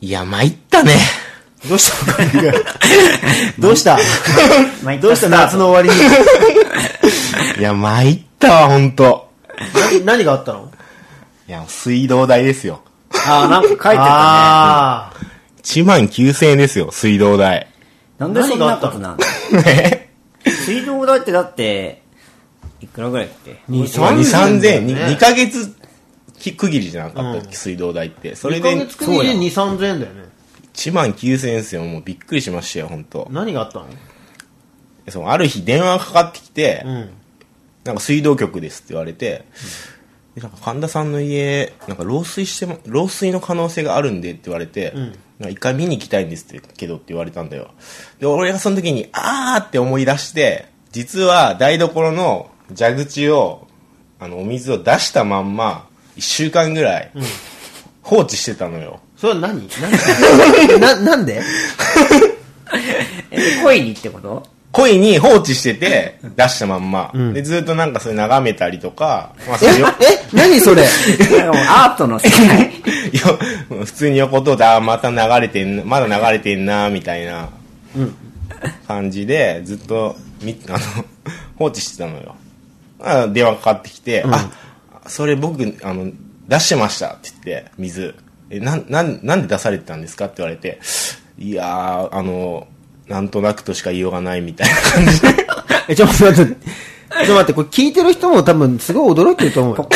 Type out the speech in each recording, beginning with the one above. いや、参った ね。どうしたどうした参ったどうしたスタート夏の終わいや、参ったわ、ほんと。りに。何何があったのいや、水道代ですよ。ああ、なんか書いてたね。ああ。 1万9000円ですよ、水道代。なんでそんなことなんだね水道代ってだって、いくらぐらいだっけ2、 3000 3000円。ね2ヶ月き区切りじゃなかったっけ、水道代って。それ1でヶ月くらいで2、3000円だよね。 1万9000円ですよ。もうびっくりしましたよ、ほんと。何があったのそのある日電話がかかってきて、うん。なんか水道局ですって言われて、でなんか神田さんの家、なんか漏水しても、漏水の可能性があるんでって言われて、んなんか一回見に行きたいんですってけどって言われたんだよ。で、俺がその時に、あーって思い出して、実は台所の蛇口を、あの、お水を出したまんま、一週間ぐらい、放置してたのよ。それは何何な、なんでえ、恋にってこと恋に放置してて、出したまんま。で、ずっとなんかそれ眺めたりとか、まあ、それよえ何それなんかもうアートの世界。 よ普通に横通って、あーまた流れてんな、まだ流れてんな、みたいな感じで、ずっとみ あの放置してたのよ。あ電話かかってきて、あ、それ僕、あの、出してましたって言って、水。え、なん、なん、なんで出されてたんですかって言われて、いやー、あの、なんとなくとしか言いようがないみたいな感じで。え、ちょっと待って。ちょっと待って、これ聞いてる人も多分すごい驚いてると思うよ。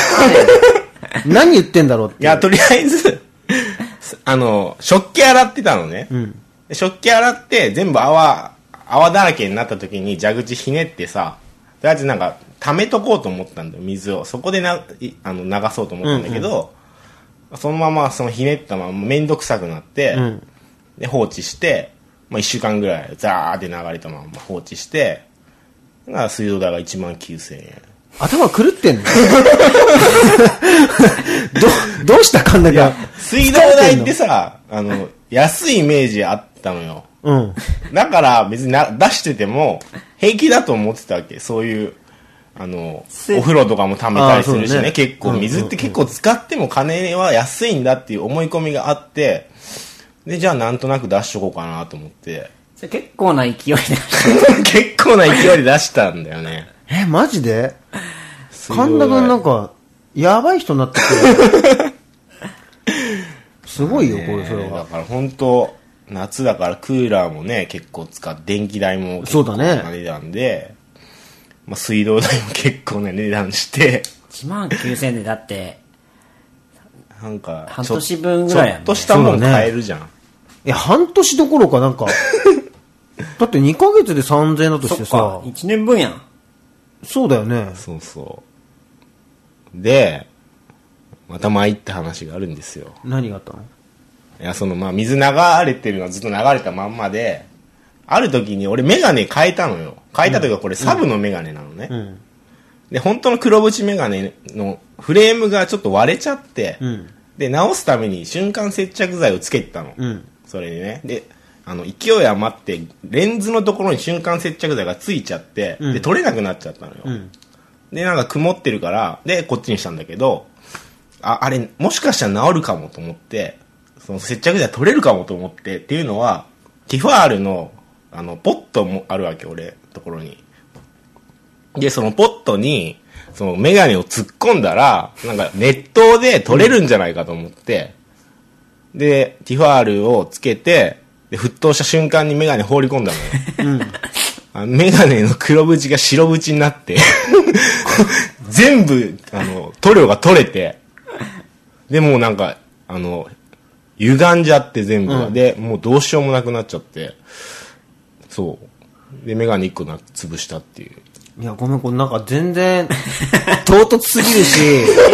何言ってんだろうって。いや、とりあえず、あの、食器洗ってたのね。んで食器洗って、全部泡、泡だらけになった時に蛇口ひねってさ、とりあえずなんか、溜めとこうと思ったんだよ、水を。そこでな、いあの流そうと思ったんだけど、そのまま、そのひねったまま、めんどくさくなって、うんで、放置して、まあ、一週間ぐらい、ザーって流れたまま放置して、だから水道代が1万9000円。頭狂って んのど、どうしたかんだか。水道代ってさ、あの、安いイメージあったのよ。うん。だから別にな出してても平気だと思ってたわけそういうあのせお風呂とかも貯めたりするしあーそねうね結構水って結構使っても金は安いんだっていう思い込みがあってでじゃあなんとなく出しとこうかなと思って それ結構な勢いで。結構な勢いで出したんだよねえ、マジで神田くんなんか、やばい人になってく る。すごいよ、これ、それねだは。から本当夏だからクーラーもね結構使って電気代も結そう構だねな値段で、まあ、水道代も結構な値段して1万9000でだって、なんか、半年分ぐらいやちょねっとしたもんそうだね買えるじゃん。いや、半年どころかなん か、だって2ヶ月で3000円だとそしってかさ、、 1年分やん。そうだよね。そうそう。で、また参った話があるんですよ。何があったのいや、その、まあ、水流れてるのはずっと流れたまんまで、ある時に俺メガネ変えたのよ。変えたというかこれサブのメガネなのね。んで、本当の黒縁メガネのフレームがちょっと割れちゃって、んで、直すために瞬間接着剤をつけてたの。んそれにね。で、あの、勢い余って、レンズのところに瞬間接着剤がついちゃって、で、取れなくなっちゃったのよ。で、なんか曇ってるから、で、こっちにしたんだけど、あ、あれ、もしかしたら治るかもと思って、その接着剤取れるかもと思って、っていうのは、ティファールの、あの、ポットもあるわけ、俺、ところに。で、そのポットに、そのメガネを突っ込んだら、なんか熱湯で取れるんじゃないかと思って、で、ティファールをつけて、で、沸騰した瞬間にメガネ放り込んだのよ。あのメガネの黒縁が白縁になって、 全部、あの、塗料が取れて、で、もうなんか、あの、歪んじゃって全部が、で、もうどうしようもなくなっちゃって、そう。で、メガネ一個な潰したっていう。いや、ごめん、これなんか全然、唐突すぎる し、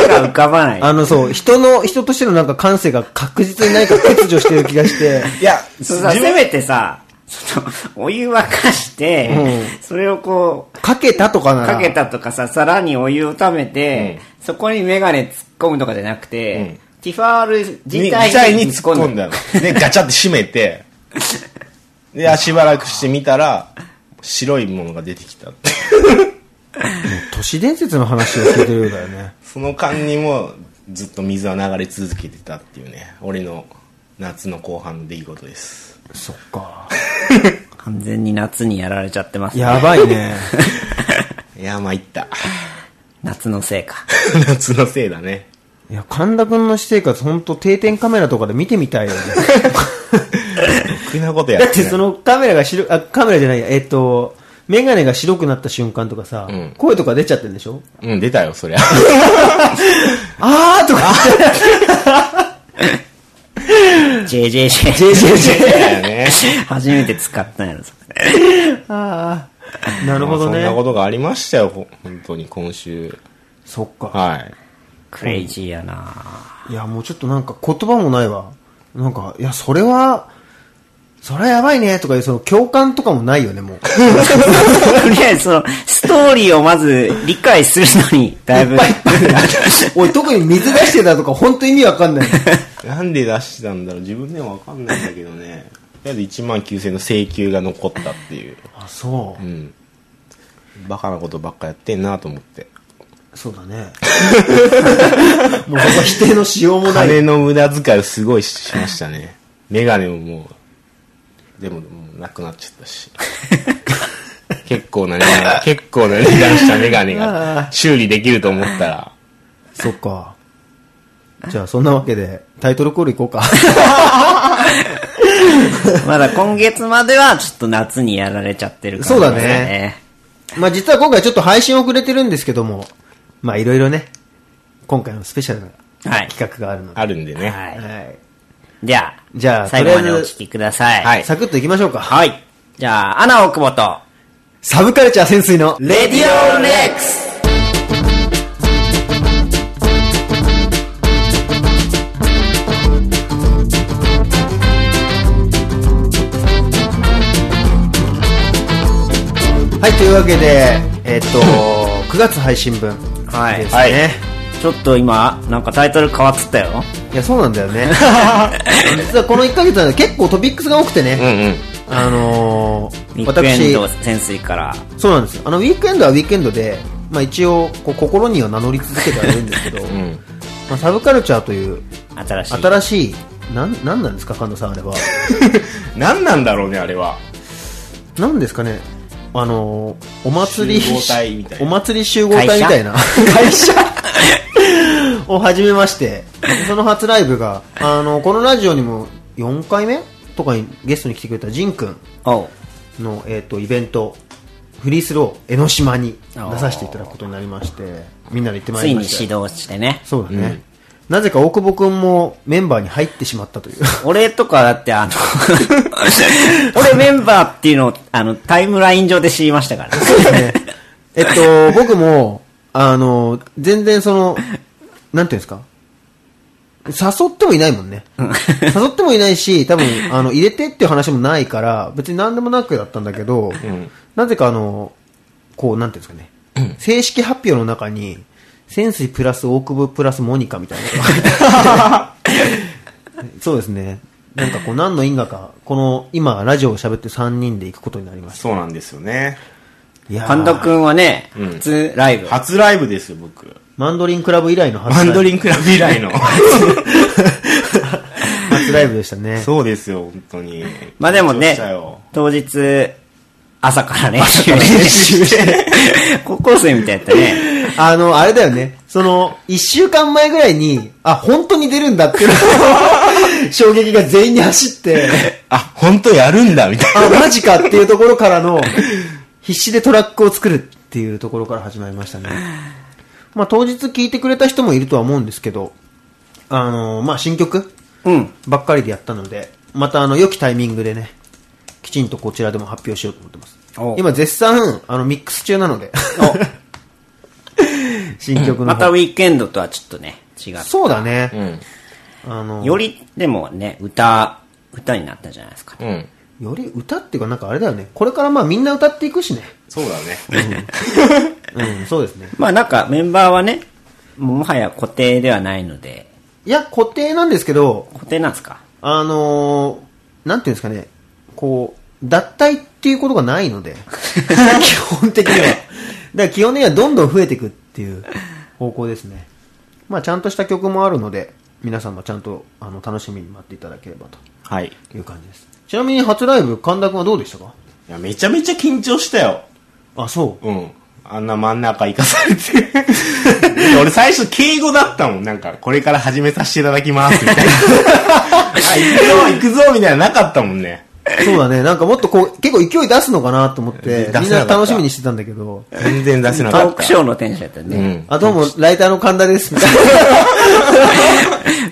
手が浮かばない。あの、そう、人の、人としてのなんか感性が確実に何か欠如してる気が して、いや、そうさ、せめてさ、その、お湯沸かして、それをこう、かけたとかなら。かけたとかさ、皿にお湯をためて、そこにメガネ突っ込むとかじゃなくて、うんティファール自自体体にに突突っっ込込んん だ。だの。で、ガチャって閉めて、で、あしばらくしてみたら、白いものが出てきたって。都市伝説の話を聞いてるようだよね。その間にも、ずっと水は流れ続けてたっていうね。俺の夏の後半の出来事です。そっか。完全に夏にやられちゃってます、ね。やばいね。いや、参った。 夏のせいか。夏のせいだね。いや、神田くんの私生活、ほんと定点カメラとかで見てみたいよね。ろくなことや だっっててないそのカメラが白、あ、カメラじゃないや、えっと、メガネが白くなった瞬間とかさ、うん声とか出ちゃってるんでしょうん、出たよ、 そりゃ。あーとか JJJ。 だよね。初めて使ったんやろ、それあー なるほどまあね。そんなことがありましたよ、ほ本当に今週。そっか。はい。クレイジーやないや、もうちょっとなんか言葉もないわ。なんか、いや、それは、それはやばいねとかいう、その共感とかもないよね、 もう。とりあえず、その、ストーリーをまず理解するのに、だいぶ。おい、特に水出してたとか、本当意味わか んない。なんで出してたんだろう、自分でもわかんないんだけどね。とりあえず1万9000円の請求が残ったっていう。あ、そうう。ん。バカなことばっかやってんなと思って。そうだね。もうそこは否定のしようもない。金の無駄遣いをすごいしました ね。メガネももう、でももうなくなっちゃったし。結構な値 段、結構な値段したメガネ が修理できると思ったら。そっか。じゃあ、そんなわけで、タイトルコールいこうか。まだ今月までは、ちょっと夏にやられちゃってるから、そうだね。 まあ実は今回ちょっと配信遅れてるんですけども、まあいろいろね、今回のスペシャルなはい企。画があるので。あるんでね。はいはい。じゃあ、じゃあ最後までとりあおえず聞きください。はいサクッといきましょうか。はい。じゃあ、アナ・オクボと、サブカルチャー潜水の、レディオネックスはい、というわけで、えっ、と、9月配信分ですね。はいはいちょっと今、なんかタイトル変わってたよ。いや、そうなんだよね。 実はこの1ヶ月は結構トピックスが多くてうね、んうん。あのウー、ィークエ私、ンド潜水から。そうなんですよ。あの、ウィークエンドはウィークエンドで、まあ一応、こう心には名乗り続けてはいるんですけ ど、んまあ、サブカルチャーという新しい。新しい、なん、なんなんですか、神田さんあ れは。何なんだろうね、あれは。なんですかね、あのー、お祭り、集合体みたいなお祭り集合体みたいな会社 を始めまして、その初ライブが、あの、このラジオにも4回目とかにゲストに来てくれたジンくんおうの、えっ、と、イベント、フリースロー、江ノ島に出させていただくことになりまして、みんなで行ってまいついりにました。指導してね。そうだね。なぜか大久保くんもメンバーに入ってしまったという。俺とかだってあの、俺メンバーっていうのを、あの、タイムライン上で知りましたから。えっと、僕も、あの、全然その、なんていうんですか誘ってもいないもんね。誘ってもいないし、多分、あの、入れてっていう話もないから、別に何でもなくだったんだけど、なぜかあの、こう、なんていうんですかね、正式発表の中に、潜水プラス大久保プラスモニカみたい な。そうですね。なんかこう、何の因果か、この、今、ラジオを喋って3人で行くことになりましそうなんですよね。た。いやー神田くんはね、初ライブ。初ライブですよ、僕。マンドリンクラブ以来の初ラマイブンドリンクラブ以来の。初ライブでしたね。 そうですよ、本当に。まあでも緊張ねしたよ、当日、朝から練習して、 高校生みたいだったね。あの、あれだよね。その、一週間前ぐらいに、あ、本当に出るんだっていう 衝撃が全員に走って、あ、本当やるんだ、みたいな。あ、マジかっていうところからの、必死でトラックを作るっていうところから始まりましたね。まあ当日聞いてくれた人もいるとは思うんですけど、あの、まあ新曲うん。ばっかりでやったので、またあの、良きタイミングでね、きちんとこちらでも発表しようと思ってますお。今絶賛、あの、ミックス中なので。 新曲のまた方、ウィークエンドとはちょっとね、違う。そうだね。ん。あの、より、でもね、歌、歌になったじゃないですか。うん。より歌っていうかなんかあれだよね。これからまあみんな歌っていくしね。そうだね。うん、そうですね。まあなんかメンバーはね、もはや固定ではないので、いや、固定なんですけど、固定なんですかあのーなんていうんですかね、こう、脱退っていうことがない ので、基本的には。だから基本的にはどんどん増えていくっていう方向ですね。まあちゃんとした曲もあるので、皆さんもちゃんとあの楽しみに待っていただければとはい。いいう感じです。ちなみに初ライブ、神田君はどうでしたかや、めちゃめちゃ緊張したよ。あ、そうん。あんな真ん中行かされて。 俺最初敬語だったもん。なんか、これから始めさせていただきます、みたい な。あ行くぞ、行くぞ、みたいななかったもんね。う。そうだね。なんかもっとこう、結構勢い出すのかなと思って出せなか、ったみんな楽しみにしてたんだけど、全然出せなトかーった。クショーのテンションやったうね。ん。あ、どうも、ライターの神 田です、みたいな。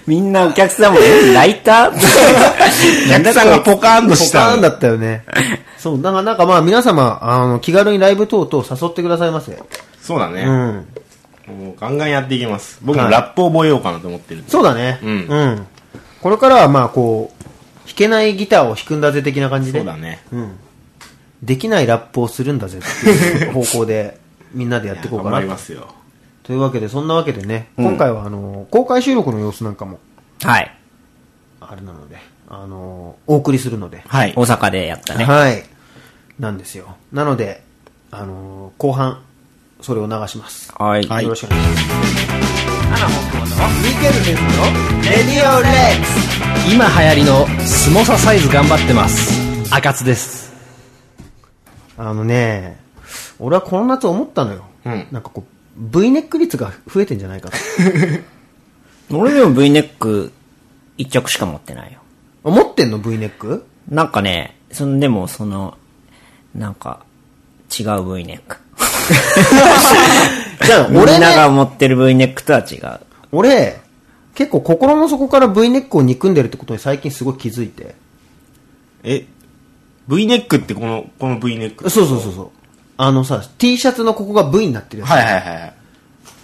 みんなお客さんも、えライ ターお客さんがポカーンとしポカたーンの。だったよ ね。そう、だからなんかまあ皆様、あの、気軽にライブ等々誘ってくださいませ。そうだうね。ん。もうガンガンやっていきます。僕もラップ覚えようかなと思ってる。そうだね。うんうん。これからはまあこう、弾けないギターを弾くんだぜ的な感じで。そうだね。うん。できないラップをするんだぜっていう方向で、 みんなでやっていこう頑か張りなま。すよ。というわけで、そんなわけでね、今回はあの、公開収録の様子なんかも、はい。あれなので、あの、お送りするので。はい大。阪でやったね。はい。なんですよ。なので、あの、後半、それを流します。はい。はいよろしくお願いします。ミケルですのレディオレッツ今流行りのスモササイズ頑張ってます赤津ですあのね、俺はこの夏思ったのよ。うんなんかこう、V ネック率が増えてんじゃないか と。俺でも V ネック一着しか持ってないよ。思ってんの ?V ネックなんかね、その、でもその、なんか、違う V ネック。じゃあ、み俺んなね、が持ってる V ネックとは違う。俺、結構心の底から V ネックを憎んでるってことに最近すごい気づいて。え、V ネックってこの、この V ネックそうそうそうそう。あのさ、T シャツのここが V になってるやつ。はいはいはいはい。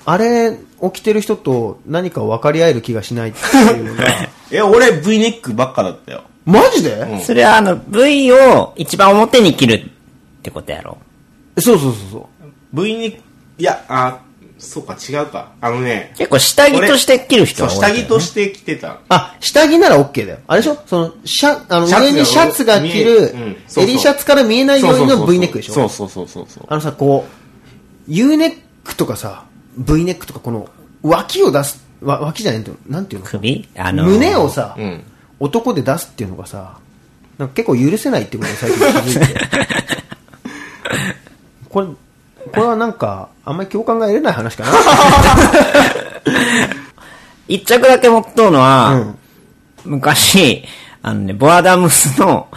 あれ、起きてる人と何か分かり合える気がしないっていうのが え、俺 V ネックばっかだったよ。マジで、んそれはあの、V を一番表に切るってことやろ。そうそうそうそう。 V ネック、いや、あ、そうか違うか。あのね、結構下着として切る人そう、は多い下んだよね、着として着てた。あ、下着なら OK だよ。あれでしょその、シャ、あの、シャツが上にシャツが着る見えうん、そうそう襟シャツから見えないようにの V ネックでしょそうそうそうそうそう。あのさ、こう、U ネックとかさ、V ネックとか、この、脇を出す、わ脇じゃないんだよ。なんていうの首あのー胸をさ、うん男で出すっていうのがさ、なんか結構許せないってことに最近気づい て。これ、これはなんか、あんまり共感が得れない話かな。一着だけ持っとうのは、うん昔、あのね、ボアダムスの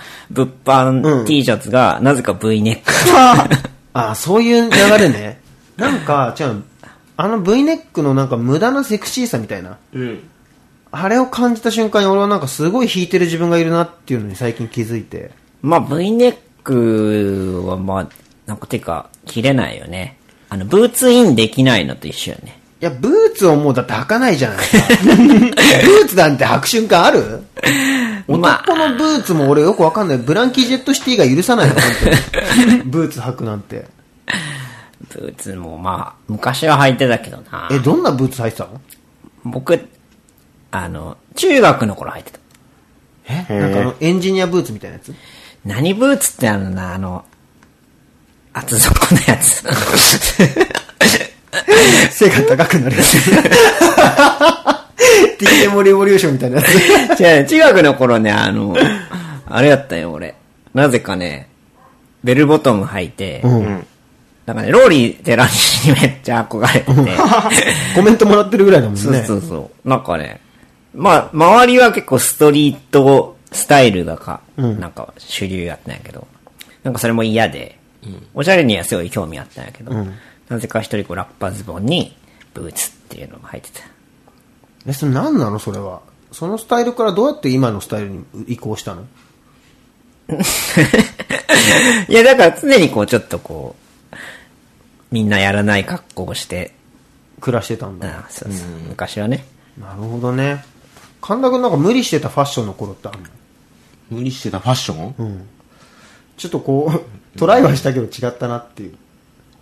う物ん販 T シャツが、なぜか V ネック。 ああ、そういう流れね。なんか、じゃあ、あの V ネックのなんか無駄なセクシーさみたいな。うん。あれを感じた瞬間に俺はなんかすごい引いてる自分がいるなっていうのに最近気づいて。まあ V ネックはまあ、なんかてか、切れないよね。あの、ブーツインできないのと一緒よね。いや、ブーツをもうだって履かないじゃないですか。 ブーツなんて履く瞬間あるま男のブーツも俺よくわかんない。ブランキー・ジェット・シティが許さないよ、本当に。ブーツ履くなんて。ブーツもまあ、昔は履いてたけどな。え、どんなブーツ履いてたの僕、あの、中学の頃履いてた。へなんかあの、エンジニアブーツみたいなやつ何ブーツってあるんだ、あの、厚底のやつ。 背が高くなるやつ。ティーエモリボリューションみたいなやつ。 違う、中学の頃ね、あの、あれやったよ、俺。なぜかね、ベルボトム履いて、うん。なんかね、ローリー・テラシにめっちゃ憧れてて、コメントもらってるぐらいだもんね。そうそうそう。なんかね、まあ、周りは結構ストリートスタイルがか、なんか主流やったんやけど、なんかそれも嫌で、おしゃれにはすごい興味あったんやけど、なぜか一人こうラッパズボンにブーツっていうのが履いてた。 え、それ何なのそれは。そのスタイルからどうやって今のスタイルに移行したのいや、だから常にこう、ちょっとこう、みんなやらない格好をして、暮らしてたんだ。あそうそう昔はね。なるほどね。神田君なんか無理してたファッションの頃ってあるの無理してたファッション、ちょっとこう、トライはしたけど違ったなっていう。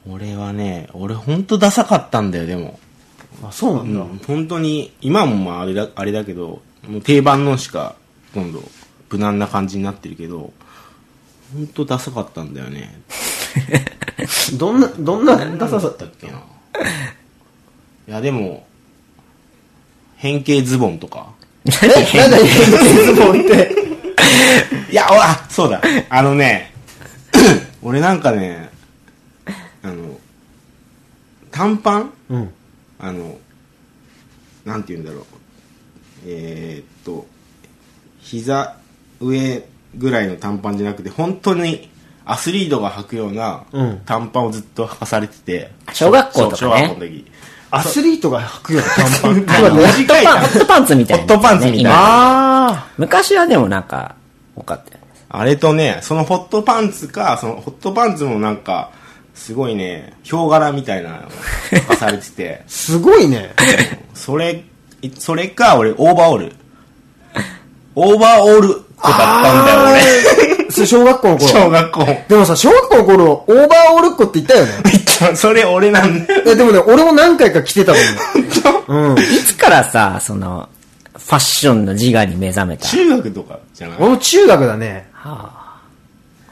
俺はね、俺ほんとダサかったんだよ、でも。あ、そうなんだ。うん本当に、今もまああれだ、あれだけど、もう定番のしか、今度、無難な感じになってるけど、ほんとダサかったんだよね。どんな、どんなダサさだったっけな。いや、でも、変形ズボンとか。えなんだ、変形ズボンって。いや、おあ、そうだ。あのね、 俺なんかね、あの、短パンうん。あの、なんて言うんだろう。えーっと、膝上ぐらいの短パンじゃなくて、本当にアスリートが履くようなうん短パンをずっと履かされてて。小学校とかねそう小学校の時。アスリートが履くような短パン。あの短いパンホな ットパンツみたいな、ホットパンツみたいなね今あ昔はでもなんか、多かったよね。あれとね、そのホットパンツか、そのホットパンツもなんか、すごいね、ヒョウ柄みたいなのが履かされて てー、、すごいね。それ、いそれか、俺、オーバーオール。オーバーオール子だったんだよ、俺。それ小学校の頃。小学校。でもさ、小学校の頃、オーバーオールっ子って言ったよね。それ俺なんだよ。いやでもね、俺も何回か着てたもんね。 いつからさ、その、ファッションの自我に目覚めた。中学とかじゃないうん。俺も中学だね。オーバ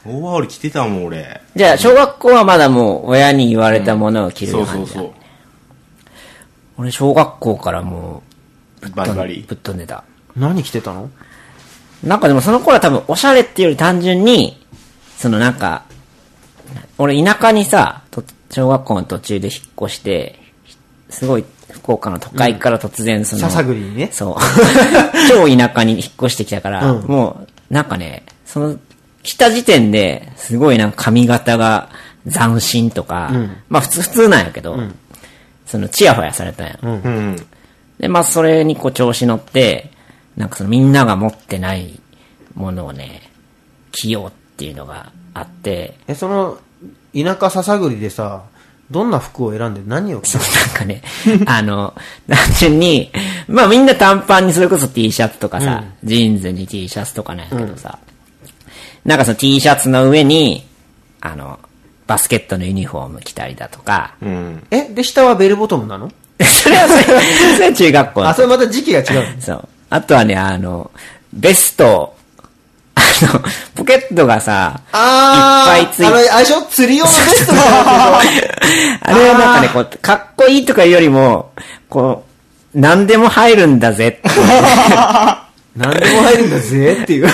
ーオール着てたもん、俺。じゃあ、小学校はまだもう、親に言われたものを着るそよう感じそだ、うそう。俺、小学校からもう、バリバリぶ。っ飛んでた。何着てたのなんかでもその頃は多分おしゃれっていうより単純に、そのなんか、俺田舎にさ、と小学校の途中で引っ越して、ひすごい福岡の都会から突然その、笹栗にねそう。 超田舎に引っ越してきたから、うんもうなんかね、その、来た時点で、すごいなんか髪型が斬新とか、まあ普通、普通なんやけど、その、チヤホヤされたんや。うん。で、まあ、それにこう調子乗って、なんかそのみんなが持ってないものをね、着ようっていうのがあって、え、その、田舎笹栗でさ、どんな服を選んで何を着そたうなんかね、 あの、単純に、まあみんな短パンにそれこそ T シャツとかさ、ジーンズに T シャツとかなんやけどさ、なんかその T シャツの上に、あの、バスケットのユニフォーム着たりだとか、うん。え、で、下はベルボトムなの それはそれ、それは中学校のあ、それまた時期が違うの。そう。あとはね、あの、ベスト、あの、ポケットがさ、あー、いっぱいついてあの、あれでしょ釣り用のベストだよあれはなんかね、こう、かっこいいとかいうよりも、こう、何でも入るんだぜ、何でも入るんだぜっていう。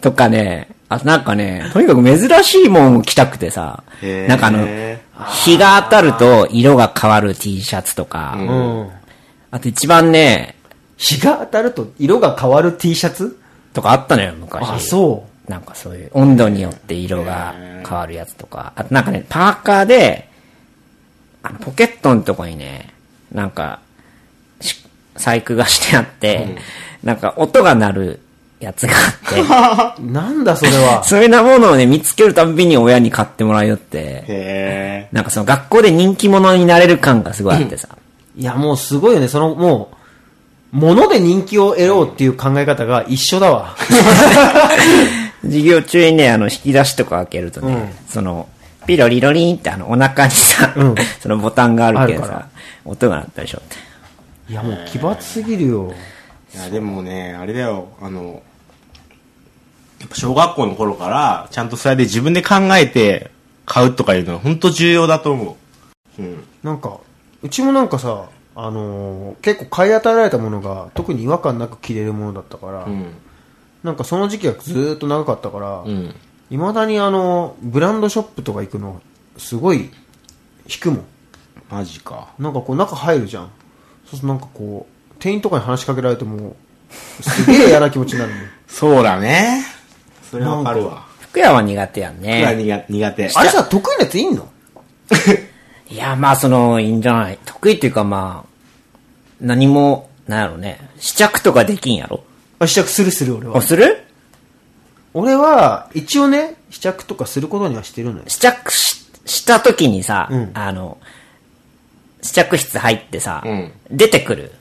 とかね、あとなんかね、とにかく珍しいもんを着たくてさへ、ーなんかあの、日が当たると色が変わる T シャツとか、うん。あと一番ね、日が当たると色が変わる T シャツとかあったのよ、昔。あ、そう。なんかそういう温度によって色が変わるやつとか、あとなんかね、パーカーで、あのポケットのとこにね、なんか、し細工がしてあって、なんか音が鳴るやつがあっなんだそれは て、。そういうようなものをね、見つけるたんびに親に買ってもらいよって、へなんかその学校で人気者になれる感がすごいあっ てさ、いや、もうすごいよね。その、もう、物で人気を得ろうっていう考え方が一緒だ わ。授業中にね、あの、引き出しとか開けるとね、その、ピロリロリンってあの、お腹にさ、うん そのボタンがあるけどあるかさ、音が鳴ったでしょって。いや、もう奇抜すぎるよ。え。いや、でもね、あれだよ、あの、やっぱ小学校の頃から、ちゃんとそれで自分で考えて買うとかいうのは本当重要だと思う。うん。なんか、うちもなんかさ、あのー結構買い与えられたものが特に違和感なく着れるものだったから、うん。なんかその時期がずーっと長かったから、うん。いまだにあのブランドショップとか行くのすごい引くもんマジか。なんかこう中入るじゃんそうするとなんかこう店員とかに話しかけられてもすげえ嫌な気持ちになるもんそうだね。それはわかるわ。福山は苦手やん僕はね。苦苦手。あれさ得意なやついんのいや、まあ、その、いいんじゃない得意っていうか、まあ、何も、なんやろね。試着とかできんやろあ試着するする俺あ、はする俺は一応ね試着とかすることにはしてるのよ試着しした時にさ、うんあの、試着室入ってさ、うん出てくる。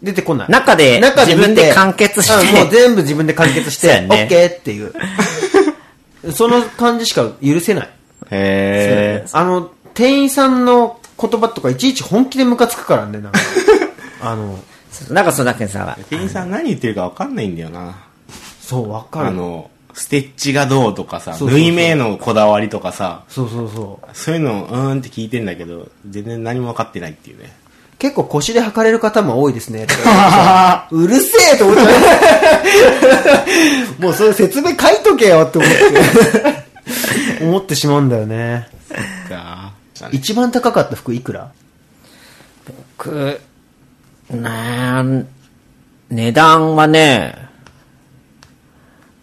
出てこない中で自分で完結してうんもう全部自分で完結しそうて、やね OK っていうその感じしか許せないへえ。あの、店員さんの言葉とかいちいち本気でムカつくからね、なんか。あの、なんかそうだけどさ、店員さん何言ってるかわかんないんだよな。そう、わかある。の、ステッチがどうとかさ、そうそ縫うそうい目のこだわりとかさ、そうそうそそういうのをうーんって聞いてんだけど、全然何も分かってないっていうね。う。結構腰で測れる方も多いです ね。うるせえと思っちゃう。もうそういう説明書いとけよって思って。思ってしまうんだよね。か一番高かった服いくらく、なん、値段はね、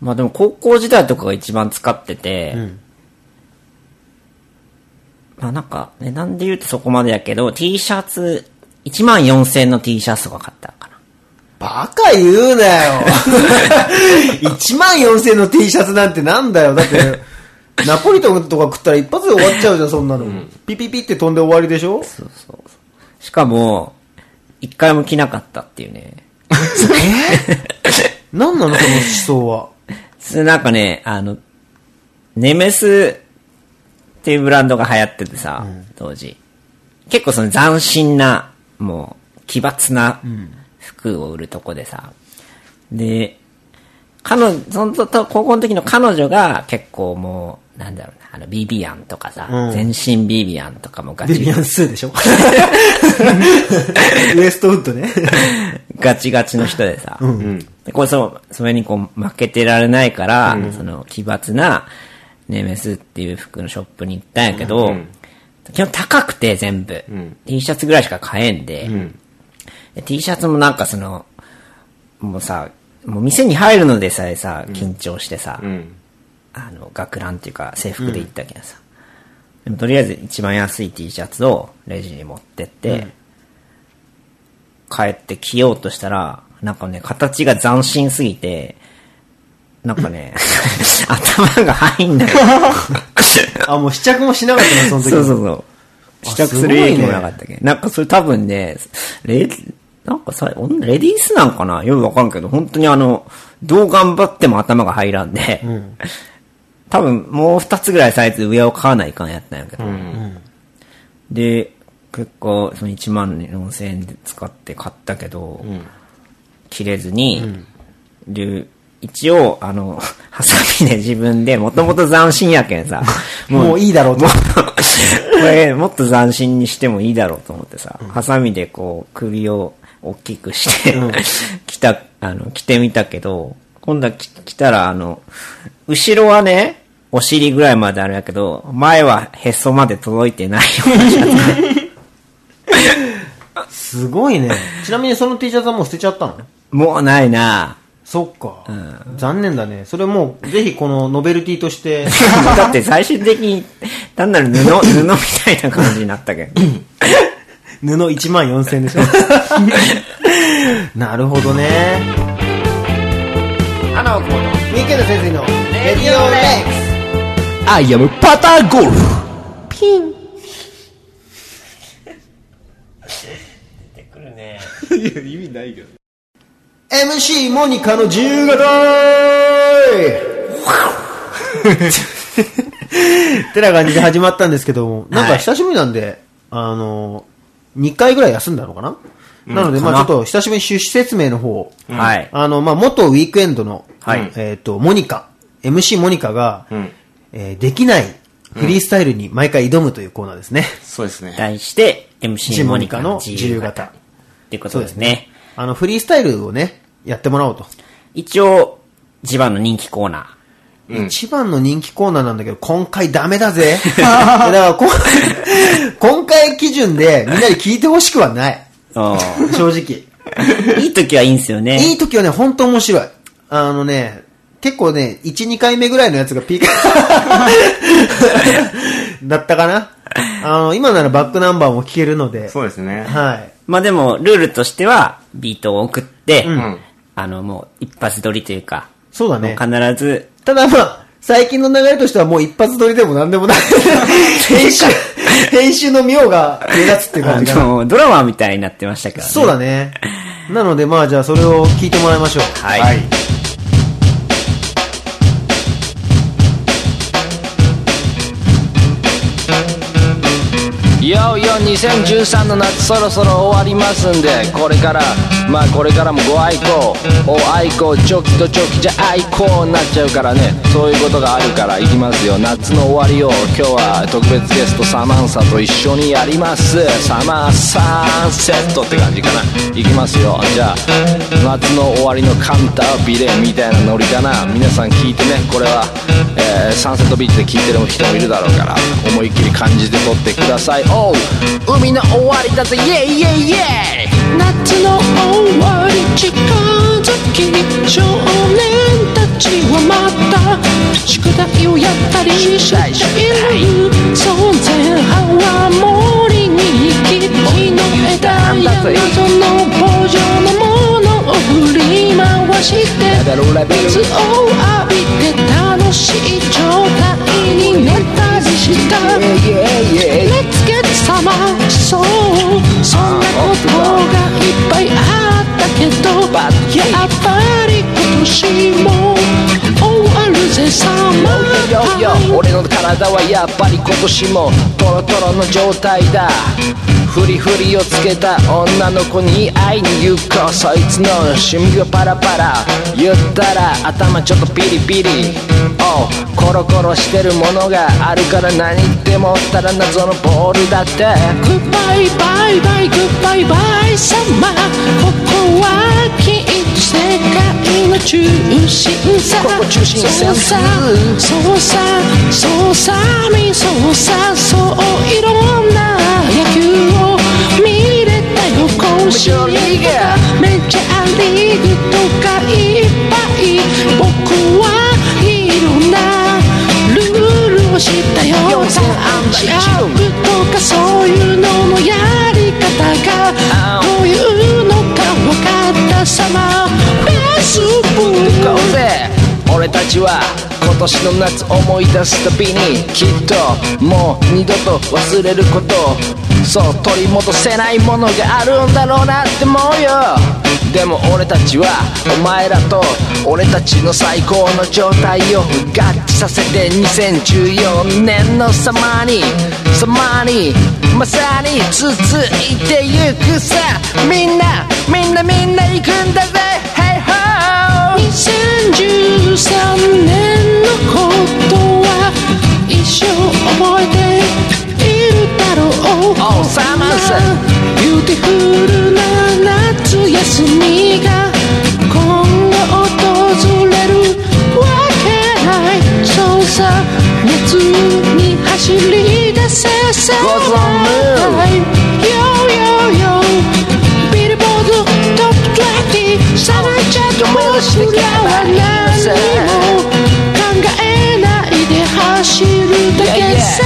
まあでも高校時代とかが一番使ってて、まあなんか値段で言うとそこまでやけど、T シャツ、1万4000円の T シャツとか買ったかな。バカ言うなよ。1万4000の T シャツなんてなんだよ。だって、ナポリタンとか食ったら一発で終わっちゃうじゃん、そんなの。ピピピって飛んで終わりでしょそうそうそう。しかも、一回も着なかったっていうね。なんなの、この思想は。それなんかね、あの、ネメスっていうブランドが流行っててさ、当時。結構その斬新な、もう、奇抜な服を売るとこでさ。で、彼女、そのと高校の時の彼女が結構もう、なんだろうな、あの、ビビアンとかさ、全身ビビアンとかもガビビチア、ンスーでしょ ウエストウッドね。 ガチガチの人でさ。で、こうそう、それにこう負けてられないから、その奇抜なネメスっていう服のショップに行ったんやけど、基本高くて全部、T シャツぐらいしか買えんで、で T シャツもなんかその、もうさ、もう店に入るのでさえさ、緊張してさ、んあの、学ランっていうか制服で行ったけどさ、でもとりあえず一番安い T シャツをレジに持ってって、帰って着ようとしたら、なんかね、形が斬新すぎて、なんかね、 頭が入んない。あ、もう試着もしなかったな、その時。そうそうそう。試着する勇気もなかったっけ、すなんかそれ多分ね、レ、なんかさ、おんレディースなんかなよくわかんけど、本当にあの、どう頑張っても頭が入らんで、多分もう二つぐらいサイズ上を買わないかんやったんやけど。で、結構その1万4千円で使って買ったけど、切れずに、で、一応、あの、ハサミで自分で、もともと斬新やけんさ、もういいだろうと。これ、もっと斬新にしてもいいだろうと思ってさ、ハサミでこう、首を大きくして、着た、あの、着てみたけど、今度は着着たら、あの、後ろはね、お尻ぐらいまであるんやけど、前はへそまで届いてないよう なシャツ。すごいね。ちなみにその T シャツはもう捨てちゃったのもうない なそっか、残念だね。それもう、ぜひこのノベルティと して。だって最終的に、単なる布、 布みたいな感じになったけど。布1万4000でしょ なるほどね花をこうの三池田先生のレディオレックス I am パターゴルフ意味ないけど MC モニカの自由形てな感じで始まったんですけども、なんか久しぶりなんで、あの、2回ぐらい休んだのかな、なので、まあちょっと久しぶりに趣旨説明の方を、はいあの、まあ元ウィークエンドの、はいえっ、と、モニカ、MC モニカが、んえーできないフリースタイルに毎回挑むというコーナーですね。そうですね題して、 MC MC モモニニカカのの自自由由形形。っていうことですね。あの、フリースタイルをね、やってもらおうと。一応、一番の人気コーナ一番の人気コーナーなんだけど、今回ダメだ ぜ。だからこん、 今回基準でみんなに聞いてほしくはない。 ー。正直。 いい時はいいんすよね。いい時はね、ほんと面白い。あのね、結構ね、1、2回目ぐらいのやつが ピークだったかな。あの、今ならバックナンバーも聞けるので。そうですねはい。まあでも、ルールとしては、ビートを送って、んあの、もう、一発撮りというか、そうだね。必ず、ただまあ、最近の流れとしてはもう一発撮りでも何でも ない。編集、編集の妙が目立つっていうあ感じかな。の、ドラマみたいになってましたからね。そうだね。なのでまあじゃあそれを聞いてもらいましょう。はい。いよいよ2013の夏そろそろ終わりますんでこれからまあこれからもご愛好お愛好チョキとチョキじゃ愛好になっちゃうからねそういうことがあるからいきますよ夏の終わりを今日は特別ゲストサマンサと一緒にやりますサマーサンセットって感じかないきますよじゃあ夏の終わりのカンタービレみたいなノリかな皆さん聞いてねこれは、えーサンセットビーチで聞いてる人もいるだろうから思いっきり感じて撮ってくださいおう海の終わりだぜイエイイエイイエイ夏の終わり近づき少年たちはまた宿題をやったりしているそんぜん泡盛に木の枝や謎の棒状のものを振り回してペダルレベル水を浴びて楽しい状態になったりした熱血様そうそんなことがいっぱいあったけどやっぱり今年も終わるぜサマよータイムよ俺の体はやっぱり今年もトロトロの状態だフリフリをつけた女の子に会いに行こうそいつの趣味をパラパラ言ったら頭ちょっとピリピリおうコロコロしてるものがあるから何でもったら謎のボールだってグッバイバイバイグッバイバイサマーここはきっと世界の中心さここ中心さそうさそうさそうさみそうさそういろんな野球を見れたよ今週メジャーリーグメジャーリーグとかいっぱい僕はいろんなルールを知ったよ四千安打シ一ャ塁ープとかそういうののやり方あがんどういうのか分かったさまベースボール行こうぜ俺たちは今年の夏思い出すたびにきっともう二度と忘れることそう取り戻せないものがあるんだろうなって思うよでも俺たちはお前らと俺たちの最高の状態を合致させて2014年のサマーにサマーにまさに続いてゆくさみんなみんなみんな行くんだぜ Hey ho! 2013年のことは一生覚えているだろう Oh, Summers ビューティフルな夏休みが今後訪れるわけないそうさ夏に走り出せさ Go on, move. よよよビルボードトップ20さらちゃんもうすらは何も考えないで走るだけさ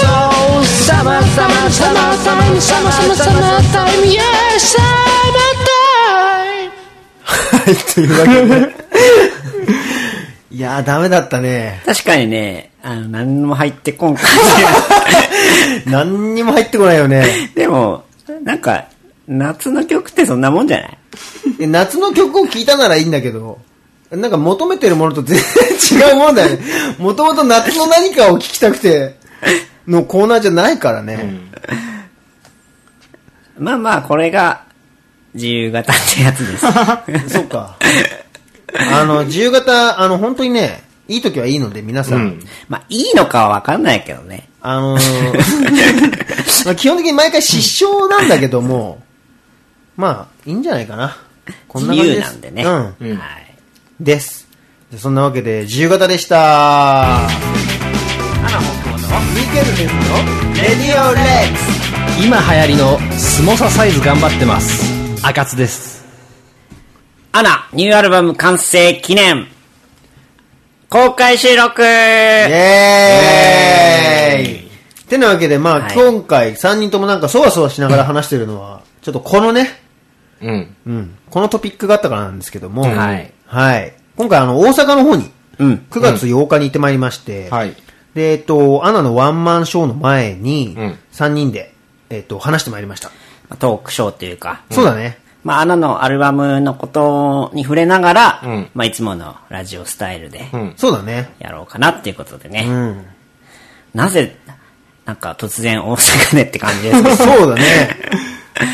So summer, summer, サマ summer, ータイ summer, ムサマ summer, ーサマーサマ summer, ータイム Yes サマータイムいやー、ダメだったね。確かにね、あの、何も入ってこんかっ何にも入ってこないよ ね。たでも、なんか、夏の曲ってそんなもんじゃないえ夏の曲を聴いたならいいんだけど、なんか求めてるものと全然違うものだ よね。もともと夏の何かを聴きたくて、のコーナーじゃないからね。まあまあ、これが、自由形ってやつ です。そっか。あの、自由形、あの、本当にね、いい時はいいので、皆さん。うんまあ、いいのかはわかんないけどね。あのー まあ基本的に毎回失笑なんだけども、まあ、いいんじゃないかな。こん自な感じ由です。なんでね。うん。んはい。です。じゃあそんなわけで、自由形でした。今流行りのスモササイズ頑張ってます赤津ですアナ、ニューアルバム完成記念、公開収録イエーイイエーイてなわけで、まあ、はい今回3人ともなんかそわそわしながら話してるのは、ちょっとこのね、うん。うん、このトピックがあったからなんですけども、はい。はい。今回、あの、大阪の方に、うん。 9月8日に行ってまいりまして、はい。で、えっと、アナのワンマンショーの前にうん、 3人で、えっと、話してまいりました。まあトークショーというか、そうだね。まあ、アナのアルバムのことに触れながら、うんまあ、いつものラジオスタイルでうんそうだね。やろうかなっていうことでね。うん。なぜ、なんか突然大阪でって感じ ですけど、そうだ ね。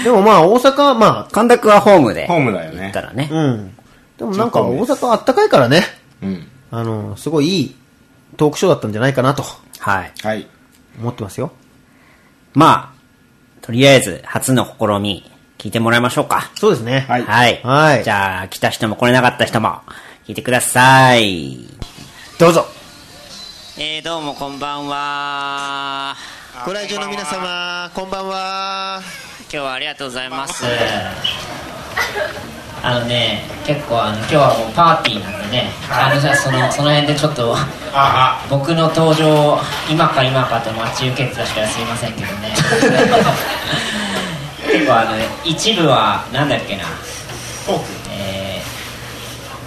でもまあ大阪、まあ、神田君はホームで。ホームだよね行ったらね。うん。でもなんか大阪はあったかいからね。うん。あの、すごいいいトークショーだったんじゃないかなとはい。はい。思ってますよ。まあ、とりあえず、初の試み、聞いてもらいましょうか。そうですね。はいはい。はいじゃあ、来た人も来れなかった人も、聞いてください。どうぞ。えー、どうもこんばんは。ご来場の皆様、こんばんは。今日はありがとうございます。あのね、結構あの今日はもうパーティーなんでね、あのじゃあそのその辺でちょっと僕の登場を今か今かと待ち受けてた人はすいませんけどね。結構あの一部はなんだっけな、え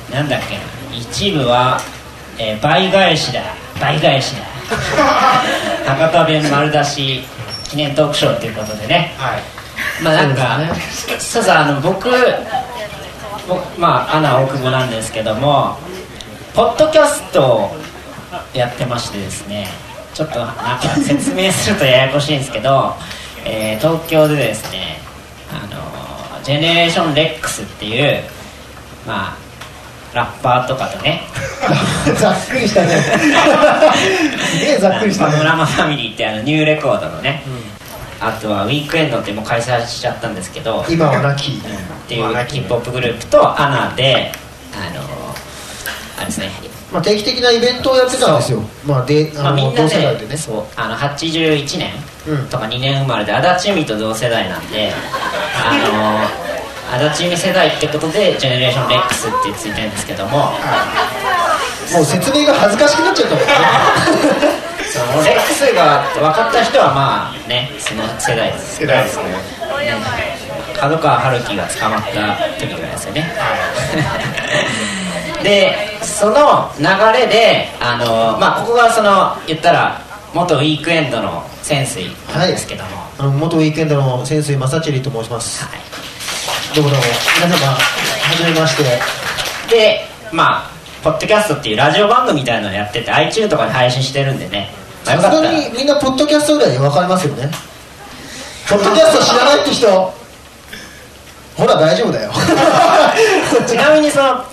ー、なんだっけな一部は、えー倍返しだ倍返しだ博多弁丸出し記念トークショーということでね、まあなんかそう,、そうあの僕僕まあアナ大久保なんですけどもポッドキャストをやってましてですねちょっとなんか説明するとややこしいんですけど、 えー東京でですねあのジェネレーションレックスっていうまあラッパーとかと ねざっくりしたねすげえざっくりしたパノねラマファミリーってあのニューレコードのね、あとはウィークエンドってもう解散しちゃったんですけど今はなきっていうヒップホップグループとアナであのあれですねまあ、定期的なイベントをやってたんですよまあでまああ、みの、んな同ね世代でねそうあの81年うんとか2年生まれで足立由美と同世代なんであの 足立由美世代ってことで「ジェネレーションレックスってついてるんですけどももう説明が恥ずかしくなっちゃったもんね そのレックスが分かった人はまあねその世代です世代ですね角川春樹が捕まった時ぐらいですよね でその流れであの、まあ、ここがその言ったら元ウィークエンドの潜水なんですけども、あの元ウィークエンドの潜水正チリと申しますはいどうもどうも皆様はじめましてでまあポッドキャストっていうラジオ番組みたいなのやってて iTune とかで配信してるんでね、まあ、さすよかったがらにみんなポッドキャストぐらい分かりますよねポッドキャスト知らないって人ほら大丈夫だよ ちなみにその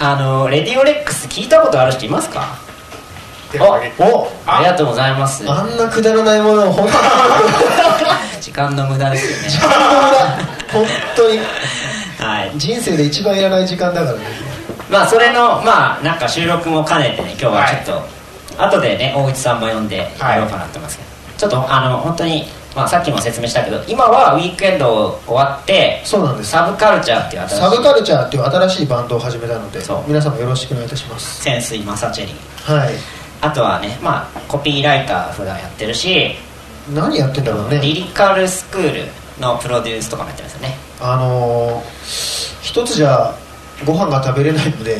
あのレディオレックス聞いたことある人いますかおおありがとうございますあんなくだらないものを本当に時間の無駄ですよね 本当にはい人生で一番いらない時間だからねまあそれのまあなんか収録も兼ねてね今日はちょっと、後でね大内さんも呼んでやろうかなと思いますけど、ちょっとあの本当にまあさっきも説明したけど今はウィークエンド終わってそうなんですサブカルチャーっていう新しいサブカルチャーっていう新しいバンドを始めたのでそう皆様よろしくお願いいたします潜水マサチェリーはいあとはねまあコピーライター普段やってるし何やってんだろうリねリカルスクールのプロデュースとかもやってますよねあのー、一つじゃご飯が食べれないの で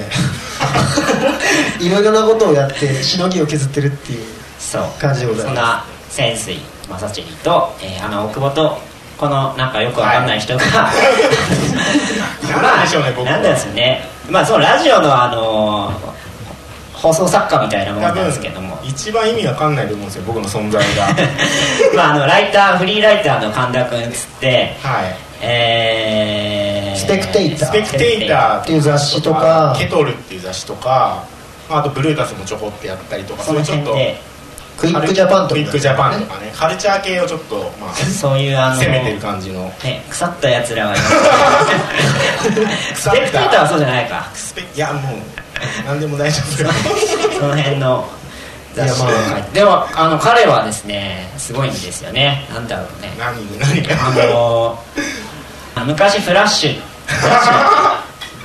いろいろなことをやってしのぎを削ってるっていうそう感じでございますそんな潜水マサチェリーと、えー、あの大久保とこのなんかよくわかんな い人が、まあなんですよねまあそのラジオのあのー放送作家みたいなものなんですけども一番意味わかんないと思うんですよ、僕の存在が。 まああのライターフリーライターの神田君っつってはい。えー、スペクテイタースペクテイターっていう雑誌とかケトルっていう雑誌とか、まあ、あとブルータスもちょこっとやったりとか、そそういのうちょっ辺と。でクイックジャパンとかクイックジャパンとかね、カルチャー系をちょっと、まあ、そういうあのー攻めてる感じの。ね、腐ったやつらがいますス腐ったペクテイターはそうじゃないかスペいや、もう、なんでも大丈夫ですよ。その辺の雑誌いやとかでもあの彼はですねすごいんですよねなんだろうね 何、何あが。のあ昔フラッシュフラッシュ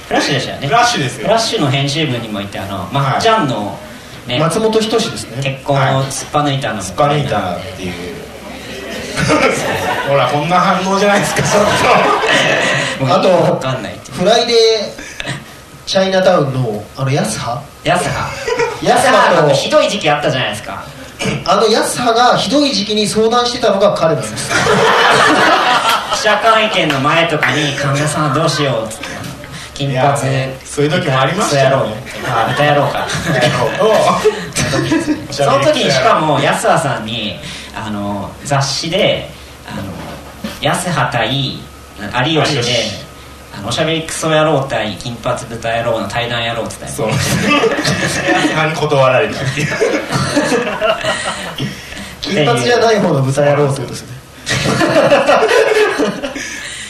フラッシュでしたよねフラッシュですフラッよ。シュの編集部にもいてあのまっちゃんの、ね松本人志ですね結婚を突っぱ抜いたのもスパネイターっていう。ほら、こんな反応じゃないですか、ちょっもうあとわかんないってフライデーチャイナタウンのあのヤスハヤスハヤヤススハハとなんかひどい時期あったじゃないですかあのヤスハがひどい時期に相談してたのが彼なんです記者会見の前とかに神田さんはどうしようっつって金いや髪そういう時もありました豚よ野 郎ねあ豚野郎かと。その時にしかも安葉さんにあの雑誌で「あの安葉対有吉で」あのおしゃべりクソ野郎対金髪豚野郎の対談野郎」って言ったそようねあに断られたっていう金髪じゃない方の豚野郎ってことですね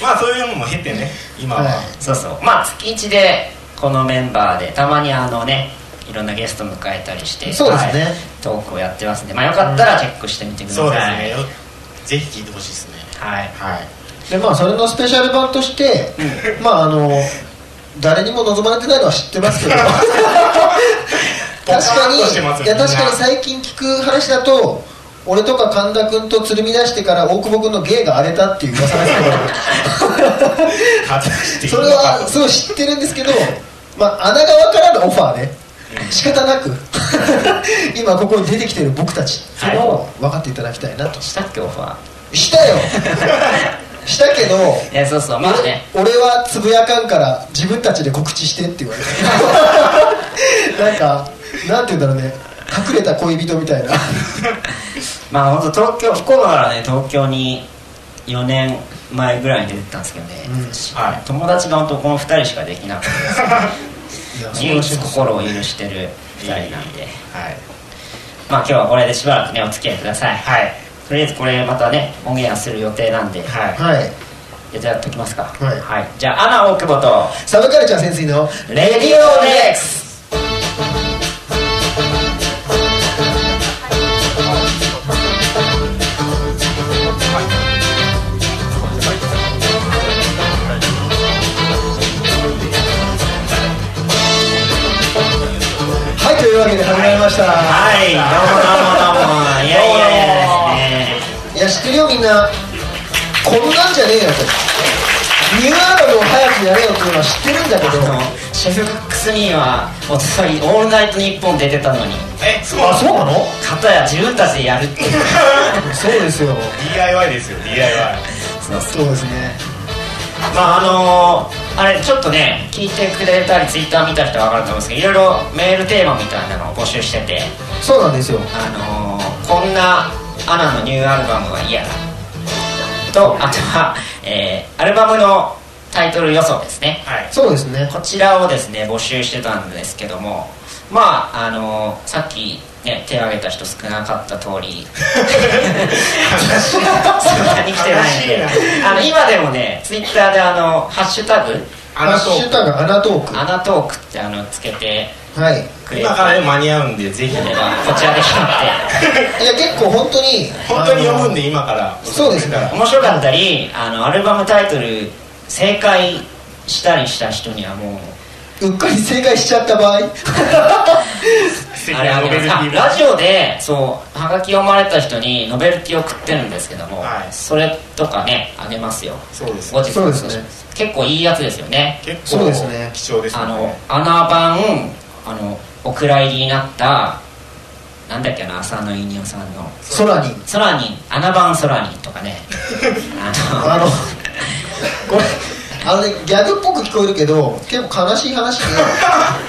まあそういうのも経てね今は、はいそうそうまあ月1でこのメンバーでたまにあのねいろんなゲスト迎えたりしてそうですねはいトークをやってますんで、まあ、よかったらチェックしてみてください、そうですね、ぜひ聞いてほしいですねはいはいでまあそれのスペシャル版としてまああの誰にも望まれてないのは知ってます けどポカ確かーンとしてますによいや確かみんにな最近聞く話だと俺とか神田君とつるみ出してから大久保君の芸が荒れたっていう噂です 果たしてけいいどそのれかはすごい知ってるんですけどまあ穴側からのオファーね仕方なく 今ここに出てきてる僕たちそれを分かっていただきたいなとしたっけオファしたよしたけどーいやそうそうまあね俺はつぶやかんから自分たちで告知してって言われ てなんかなんて言うんだろうね隠れた恋人みたいなまあ本当東京福岡からね東京に4年前ぐらいに出てったんですけどね、はい友達が本当この2人しかできなくて唯一心を許してる2人なんではいまあ今日はこれでしばらくねお付き合いください、はいとりあえずこれまたねオンエアする予定なんで、はいはいいやじゃあやっときますかはいじゃあアナ大久保とサブカルチャー潜水のレディオレックスはいというわけで始まりました、はいどうもどうもどうもいやいやいやでい、や知っすねてるよみんなこんなんじゃねえよとニューアルバムを早くやれよっていうのは知ってるんだけあどのシェフ・クックスミーはおととい「オールナイトニッポン」出てたのにえそうあそうなの片や自分たちでやるっていうそうですよ DIY ですよ DIY そうそうそうですねまああのーあれちょっとね聞いてくれたりツイッター見た人は分かると思うんですけどいろいろメールテーマみたいなのを募集しててそうなんですよあのーこんなアナのニューアルバムは嫌だとあとは、えーアルバムのタイトル予想ですね、はいそうですねこちらをですね募集してたんですけどもまああのーさっきね手を挙げた人少なかった通りそんなに来てないんで悲あの今でもねツイッターであのハッシュタグあのハッシュタグアナトーアナトークってあのつけてクはいくれれ今ばからでも間に合うんでぜひこちらでしたっていや結構本当に本当に読むんでで今からそうですね面白かったりあのアルバムタイトル正解したりした人にはもううっかり正解しちゃっ た場合あれあげますあラジオでそうはがき読まれた人にノベルティ送ってるんですけども、はいそれとかねあげますよそうです後日そうですね結構いいやつですよね結そう構ですね貴重ですあよのね穴版あのお蔵入りになったなんだっけな浅野稲夫さんの空に「空に穴版空に」と かねあのこれあのねギャグっぽく聞こえるけど結構悲し い話で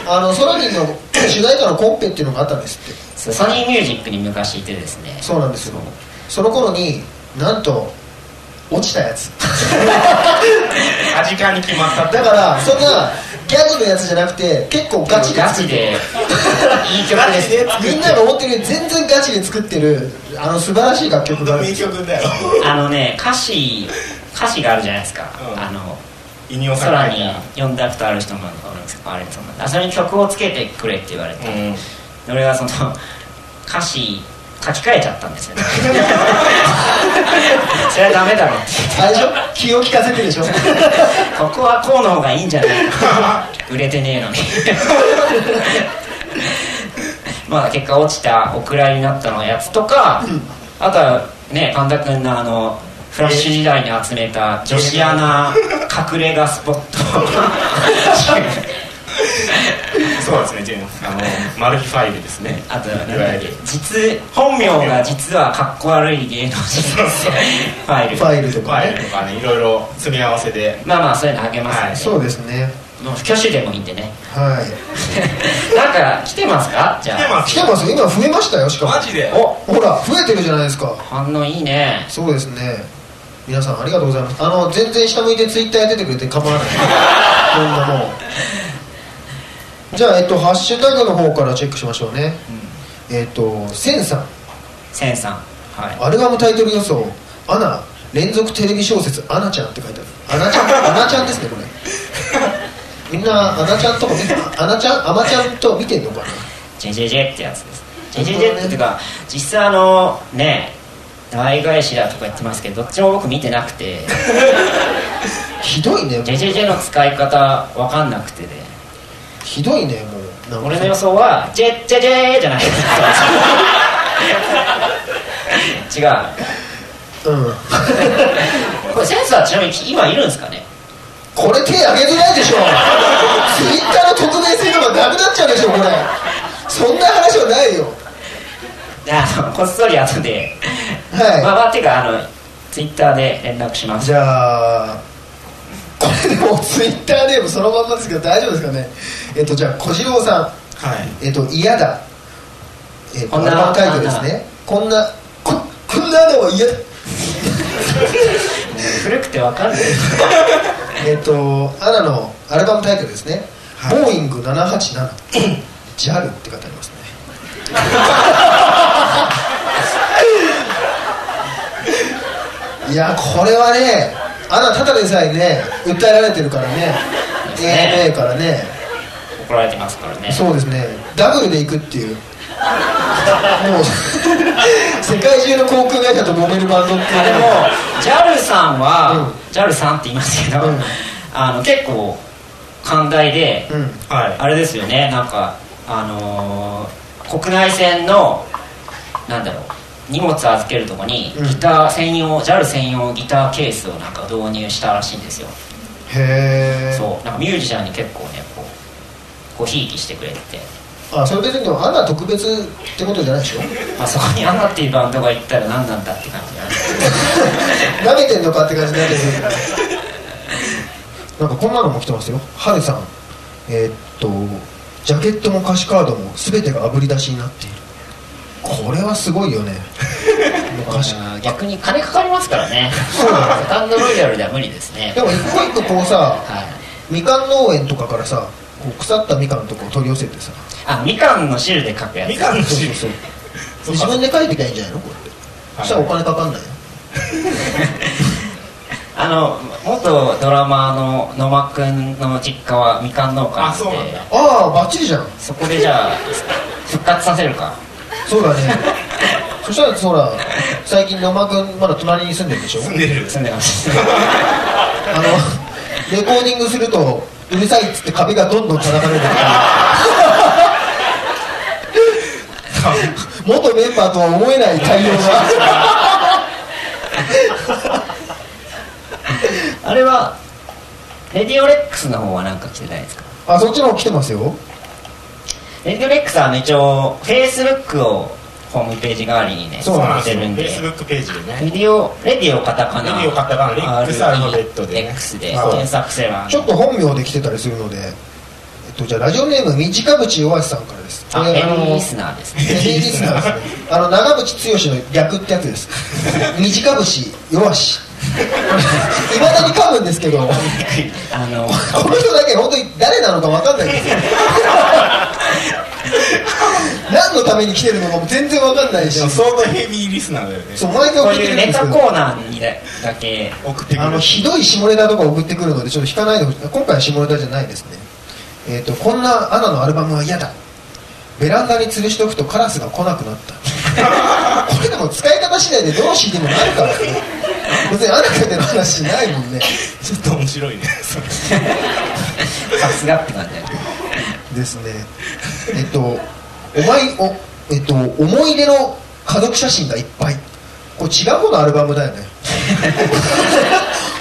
あのソラニンの主題歌のコンペっていうのがあったんですってそうソニーミュージックに昔いてですねそうなんですよその頃になんと落ちたやつ間近に決まったってだからそんなギャグのやつじゃなくて結構ガチでガ作チ っでいい曲ですねみんなが思ってるより全然ガチで作ってるあの素晴らしい楽曲本があ当るんで名すよ曲だよあのね歌詞歌詞があるじゃないですか、うんあのイニオさん空に読んだことある人もおるんですけどあれそうなんだそれに曲をつけてくれって言われて、うん俺がその 歌詞書き換えちゃった んですよねそれはダメだろってあれでしょ気を利かせてるでしょここはこうの方がいいんじゃない 売れてねえのにまあ結果落ちたお蔵になったのやつとか、あとはね神田君のあのフラッシュ時代に集めた女子アナ隠れ家スポ ットそうですねジェームスあのマル秘ファイルですねあとなんいわだっゆける実本名が実はかっこ悪い芸能 人ですよファイルファイルとフかァイねルとかねいろいろ詰め合わせでまあまあそういうのあげますんで、はいそうですねもう挙手でもいいんでね はいなんか来てますかじゃあ来てます来てますよ今増えましたよしかもマジでおほら増えてるじゃないですか反応いいねそうですね皆さんありがとうございますあの全然下向いてツイッターやっててくれて構わない こんなもんじゃあ、えっと、ハッシュタグの方からチェックしましょうね、えっとセンさんセンさんはいアルバムタイトル予想「アナ連続テレビ小説「アナちゃん」って書いてあるアナちゃんアナちゃんですねこ れみんなアナちゃんとか見てアナちゃんアマちゃんと見てんのかなジェジェジェってやつですジェジェジェっていうか実際あのね大返しだとか言ってますけどどっちも僕見てなくてひどいねもうジェジェジェの使い方わかんなくてでひどいねもうなんか俺の予想はジェジェジェじゃない 違ううんこれセンスはちなみに今いるんですかねこれ手挙げづらいでしょツイッターの匿名性とかなくなっちゃうでしょこれそんな話はないよあのこっそり後で、はいまあまあてかあのツイッターで連絡しますじゃあこれでもツイッターネームそのまんまですけど大丈夫ですかねえっとじゃあ小次郎さんはいえっと嫌だえっとこんアルなバムタイトルですねこんなここんなのは嫌だ古くてわかんない えっとアナのアルバムタイトルですね「ボーイング787」「JAL」って書いてありますねいやこれはねアナただでさえね訴えられてるからねすね ANA からね怒られてますからねそうですねダブルで行くっていう もう世界中の航空会社と揉めるバンドっていうあでも JAL さんは、う JAL さんって言いますけど、うんあの結構寛大で、うんはいあれですよねなんかあのー国内線のなんだろう荷物預けるとこにうんギター専用、JAL 専用ギターケースをなんか導入したらしいんですよ、へえそうなんかミュージシャンに結構ねこうごひいきしてくれてて、あそれ別にでもアナ特別ってことじゃないでしょまあ、そこにアナっていうバンドが行ったら何なんだって感じなんですけど舐めてんのかって感じになってる なんかこんなのも来てますよはるさんえーっとジャケットも歌詞カードも全てが炙り出しになっているこれはすごいよね歌詞あー逆に金かかりますからねそうだねセカンドロイヤルでは無理ですねでも一個一個こうさはいみかん農園とかからさこう腐ったみかんとかを取り寄せてさあみかんの汁で書くやつみかんの汁そうそう自分で書いてきゃいいんじゃないのこれそしたらお金かかんないよあの元ドラマーの野間くんの実家はみかん農家なんあそうなんでだああバッチリじゃんそこでじゃあ復活させ るかそうだねそしたらほら最近野間君まだ隣に住んでるでしょ住んでる住んでます あのレコーディングするとうるさいっつって壁がどんどん叩かれる 元メンバーとは思えない対応あれはレディオレックスの方はなんか来てないですかがあそっちの方来てますよレディオレックスはあの一応フェイスブックをホームページ代わりにねそうそうやなんってるんでですよ Facebook ページでねレディオレディオカタカナレディオカタカナレックスアルファベットでね X でそう検索すればちょっと本名で来てたりするのでえっとじゃあラジオネーム短渕大橋さんからですあヘビーリスーナーですヘねビーリスナーですねあの長渕剛の逆ってやつです 短渕弱 しいまだに噛むんですけどこあのの人だけ本当に誰なのか分かんない です何のために来てるのかも全然分かんないしでも相当ヘビーリスナーだよねそう毎こう回送っていくるんうネですタけコどーナーにだけ送ってくあのるひどい下ネタとか送ってくるのでちょっと引かないでほしい今回は下ネタじゃないですねえっ、とこんなアナのアルバムは嫌だベランダに吊るしておくとカラスが来なくなった これでも使い方次第でどの CD もなるからね別にアナかての話しないも んねちょっと面白いねそれさすがって感じだよねですねえっ、とお前おえっ、と思い出の家族写真がいっぱいこれ違う方のアルバムだよね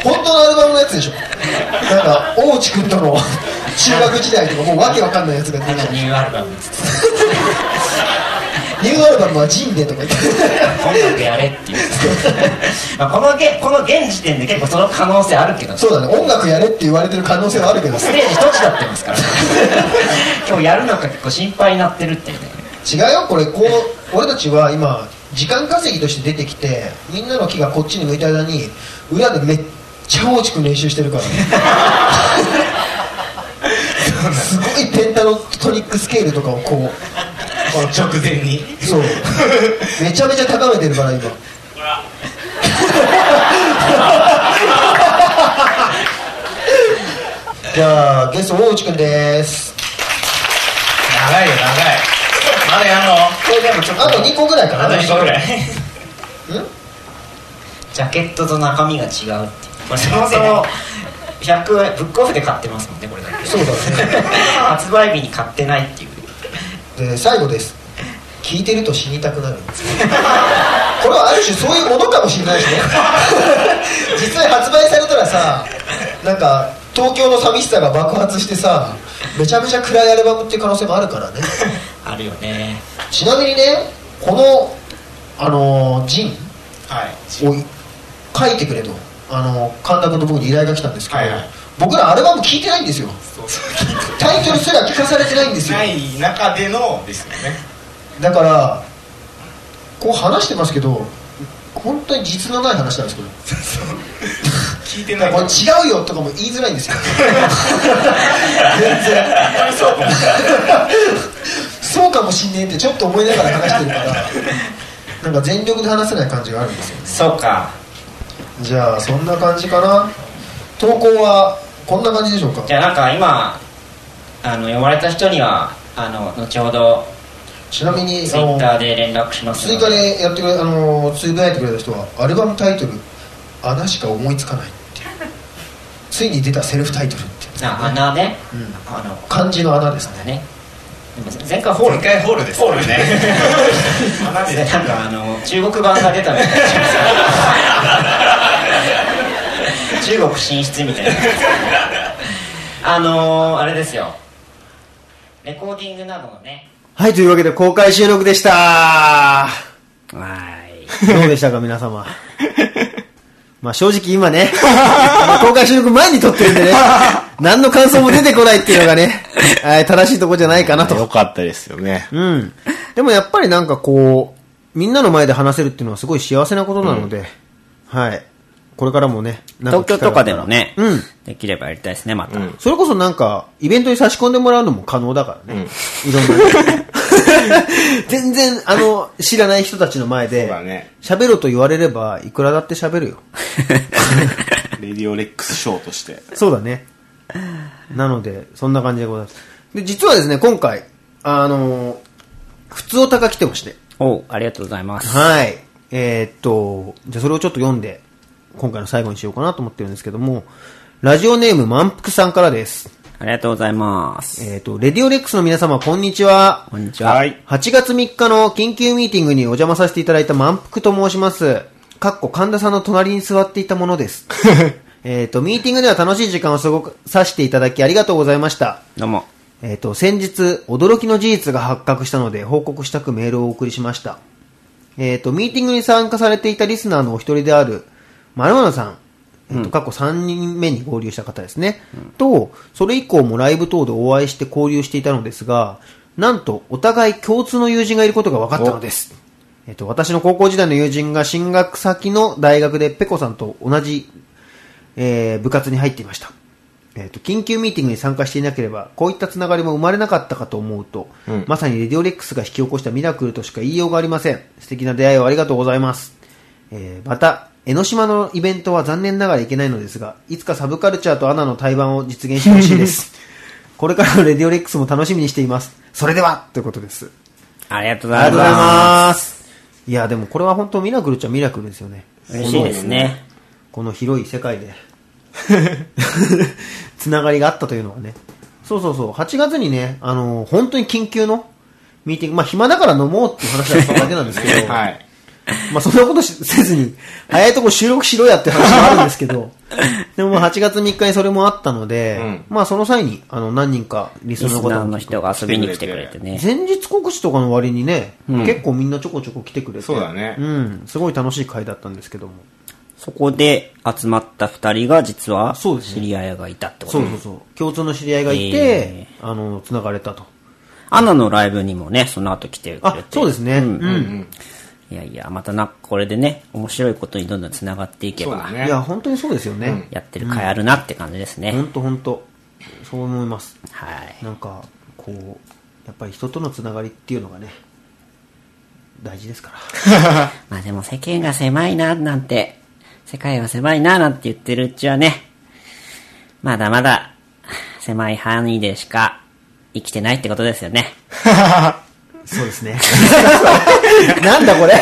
本当のアルバムのやつでしょなんか大内君との中学時代とかもうわけわかんないやつが出てきたニューアルバムですニューアルバムはジンでとか言って音楽やれっていうまあこのげこの現時点で結構その可能性あるけどそうだね音楽やれって言われてる可能性はあるけどステージ一つだってますから今日やるのか結構心配になってるっていうね違うよこれこう俺たちは今時間稼ぎとして出てきてみんなの木がこっちに向いた間に裏でめっちゃ大地君練習してるからねすごいペンタのトニックスケールとかをこうこの直前にそうめちゃめちゃ高めてるから今 じゃあゲスト大内君です長いよ長いまだやんのこれでもちょっとあと2個ぐらいかなあと2個ぐらいんジャケットと中身が違うっていうこれそもそも100円ブックオフで買ってますもんねこれだけそうだね発売日に買ってないっていうで最後です聞いてると死にたくなる これはある種そういうものかもしれないしね 実際発売されたらさなんか東京の寂しさが爆発してさめちゃめちゃ暗いアルバムっていう可能性もあるからねあるよねちなみにねこのあのージンはいを書いてくれとあの神田君と僕に依頼が来たんですけど、はいはい僕らアルバム聞いてないんですよそうそうタイトルすら聞かされてないんですよない中でのですよねだからこう話してますけど本当に実のない話なんですけど聞いてだなかいらこれ違うよとかも言いづらいんですよ全然そうかもそうかもしんねえってちょっと思いながら話してるからなんか全力で話せない感じがあるんですよそうかじゃあそんな感じかな投稿はこんな感じでしょうかじゃあなんか今あの読まれた人にはあの後ほどちなみにツイあのッターで連絡します追加でやってくれあのつぶやいてくれた人はアルバムタイトル「穴しか思いつかない」っていうついに出たセルフタイトルっていうな穴ね、あの漢字の穴ですねだねでも前回ホール回ホールですホール ね花でなんかあの中国版が出たみたいな中国進出みたいなあのー、あれですよレコーディングなどのねはい、というわけで公開収録でした。はい。どうでしたか、皆様。まあ正直今ね、まあ公開収録前に撮ってるんでね、何の感想も出てこないっていうのがね、はい正しいとこじゃないかなと。よかったですよねうん。でもやっぱりなんかこう、みんなの前で話せるっていうのはすごい幸せなことなので、はい。これからもね、なん東京とかでもね、うん。できればやりたいですね、また。それこそなんか、イベントに差し込んでもらうのも可能だからね。いろんな。 全然、あの、知らない人たちの前そうでだね、喋ろと言われれば、いくらだって喋るよ。レディオレックスショーとしてそうだね。なので、そんな感じでございます。で、実はですね、今回、あのー、普通おたが来てまして。おうありがとうございます。はい。えーっと、じゃあそれをちょっと読んで、今回の最後にしようかなと思ってるんですけども、ラジオネーム満腹さんからです。ありがとうございます。えーっと、レディオレックスの皆様、こんにちは。こんにちは。はい8月3日の緊急ミーティングにお邪魔させていただいた満腹と申します。かっこ神田さんの隣に座っていたものです。えっと、ミーティングでは楽しい時間を過ごくさせていただきありがとうございました。どうも。えっ、と、先日、驚きの事実が発覚したので、報告したくメールをお送りしました。えっ、と、ミーティングに参加されていたリスナーのお一人である、まるまるさん、えっ、と、過去3人目に合流した方ですね、と、それ以降もライブ等でお会いして交流していたのですが、なんと、お互い共通の友人がいることが分かったのです。えっ、と、私の高校時代の友人が進学先の大学で、ペコさんと同じえー部活に入っていました、えーと。緊急ミーティングに参加していなければ、こういったつながりも生まれなかったかと思うと、まさにレディオレックスが引き起こしたミラクルとしか言いようがありません。素敵な出会いをありがとうございます。えーまた、江ノ島のイベントは残念ながらいけないのですが、いつかサブカルチャーとアナの対バンを実現してほしい です。これからのレディオレックスも楽しみにしています。それではということです。ありがとうごあざいりがとうございまます。いや、でもこれは本当ミラクルっちゃミラクルですよね。す。嬉しいですね。この広い世界で つながりがあったというのはねそうそうそう8月にねあの本当に緊急のミーティングまあ暇だから飲もうっていう話だっただけなんですけ どはい まあそんなことしせずに早いとこ収録しろやって話もあるんですけどでもまあ8月3日にそれもあったので、んまあその際に、あの、何人かリスリナースの方ナーもの人が遊びに来てくれてね。前日告知とかの割にね、結構みんなちょこちょこ来てくれて。そうだねうん。すごい楽しい回だったんですけども。そこで集まった二人が実はそうです知ねり合いがいたってことそうねそうそう。共通の知り合いがいてえ、あの、繋がれたと。アナのライブにもね、その後来てくれて。あ、そうですね。うん。いやいや、またなんかこれでね、面白いことにどんどん繋がっていけそうだば、ねいや、本当にそうですよね。やってる甲斐あるなって感じですね。本当本当そう思います。はい。なんか、こう、やっぱり人とのつながりっていうのがね、大事ですから。 まあでも世間が狭いな、なんて、世界は狭いな、なんて言ってるうちはね、まだまだ、狭い範囲でしか生きてないってことですよね。そうです ね。なんだこれ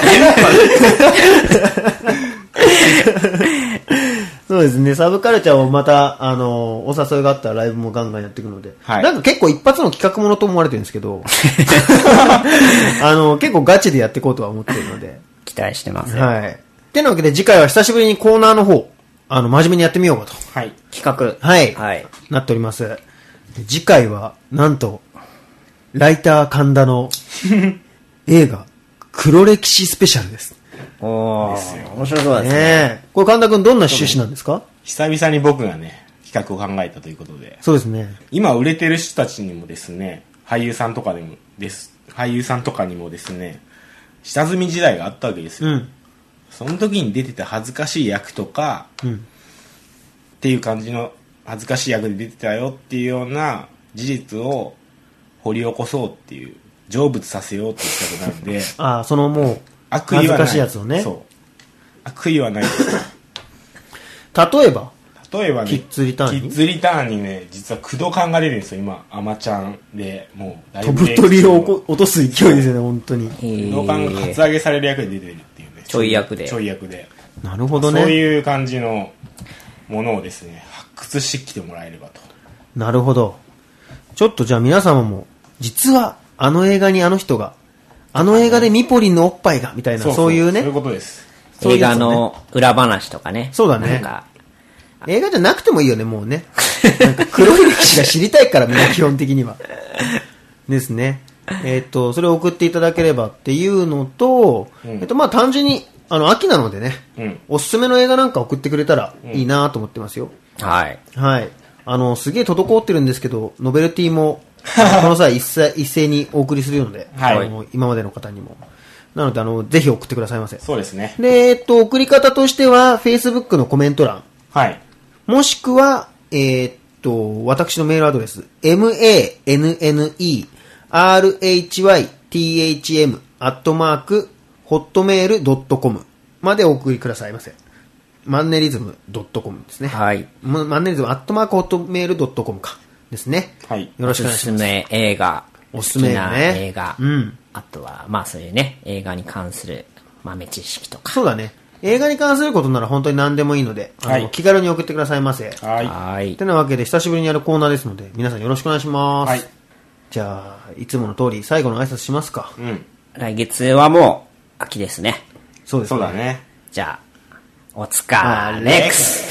そうですね、サブカルチャーをまた、あの、お誘いがあったらライブもガンガンやっていくので、はいなんか結構一発の企画ものと思われてるんですけ ど、あの、結構ガチでやっていこうとは思ってるので、期待してますよ。はい。ってなわけで次回は久しぶりにコーナーの方、あの、真面目にやってみようかと。はい。企画。はい。はい。なっております。で次回は、なんと、ライター神田 の映画、黒歴史スペシャルです。おー、面白そうですね。ねえ。これ神田くんどんな趣旨なんですか久々に僕がね、企画を考えたということで、そうですね。今売れてる人たちにもですね、俳優さんとかでもです、俳優さんとかにもですね、下積み時代があったわけですよ。うん。その時に出てた恥ずかしい役とか、うん。っていう感じの恥ずかしい役で出てたよっていうような事実を掘り起こそうっていう成仏させようっていう企画なん でああ、そのもう、悪意恥はないずかしいやつをね。そう悪意は ないです例えば、例えばねキッズリターンにキッズリターンにね実は工藤感が出てるんですよ今アマちゃんでもうだい飛ぶぶ鳥を落こ落とす勢いですよね、本当に。工藤感がカツアゲされる役で出てるっていうねちょい役でちょい役でなるほどそうね。いう感じのものをですね発掘してきてもらえればとなるほど。ちょっとじゃあ皆様も、実は、あの映画にあの人が、あの映画でミポリンのおっぱいが、みたいな、そういうねそういう。ことですそういう映やつ画をねの裏話とかね。そうだねなんか、映画じゃなくてもいいよね、も うね。なんか黒い歴史が知りたいから、みんな基本的には。ですね。えっ、と、それを送っていただければっていうのと、えっと、まあ単純に、あの、秋なのでね、うんおすすめの映画なんか送ってくれたらいいなと思ってますよ。はい。はい。あの、すげえ滞ってるんですけど、ノベルティも、あのこの際一斉一斉にお送りするので、はいあの今までの方にも。なので、あの、ぜひ送ってくださいませ。そうですねで、えっと、送り方としては、Facebook のコメント欄、はいもしくは、えーっと、私のメールアドレス、manne-rhythm アットマーク、hotmail.com までお送りくださいませ。マンネリズム .com ですね。はい。まマンネリズムアットマーク、hotmail.com か。ですね。はいよろしくおお願いすしすます。め映画。おすすめ映好き画なね映画。うんあとは、まあそういうね、映画に関する豆知識とか。そうだね。映画に関することなら本当に何でもいいので、あのはい気軽に送ってくださいませ。はいはいて。なわけで久しぶりにやるコーナーですので皆さんよろしくお願いします、はいじゃあいつもの通り最後の挨拶しますか、うん来月はもう、秋ですね。そうですそうだねじゃあ、お疲れっす。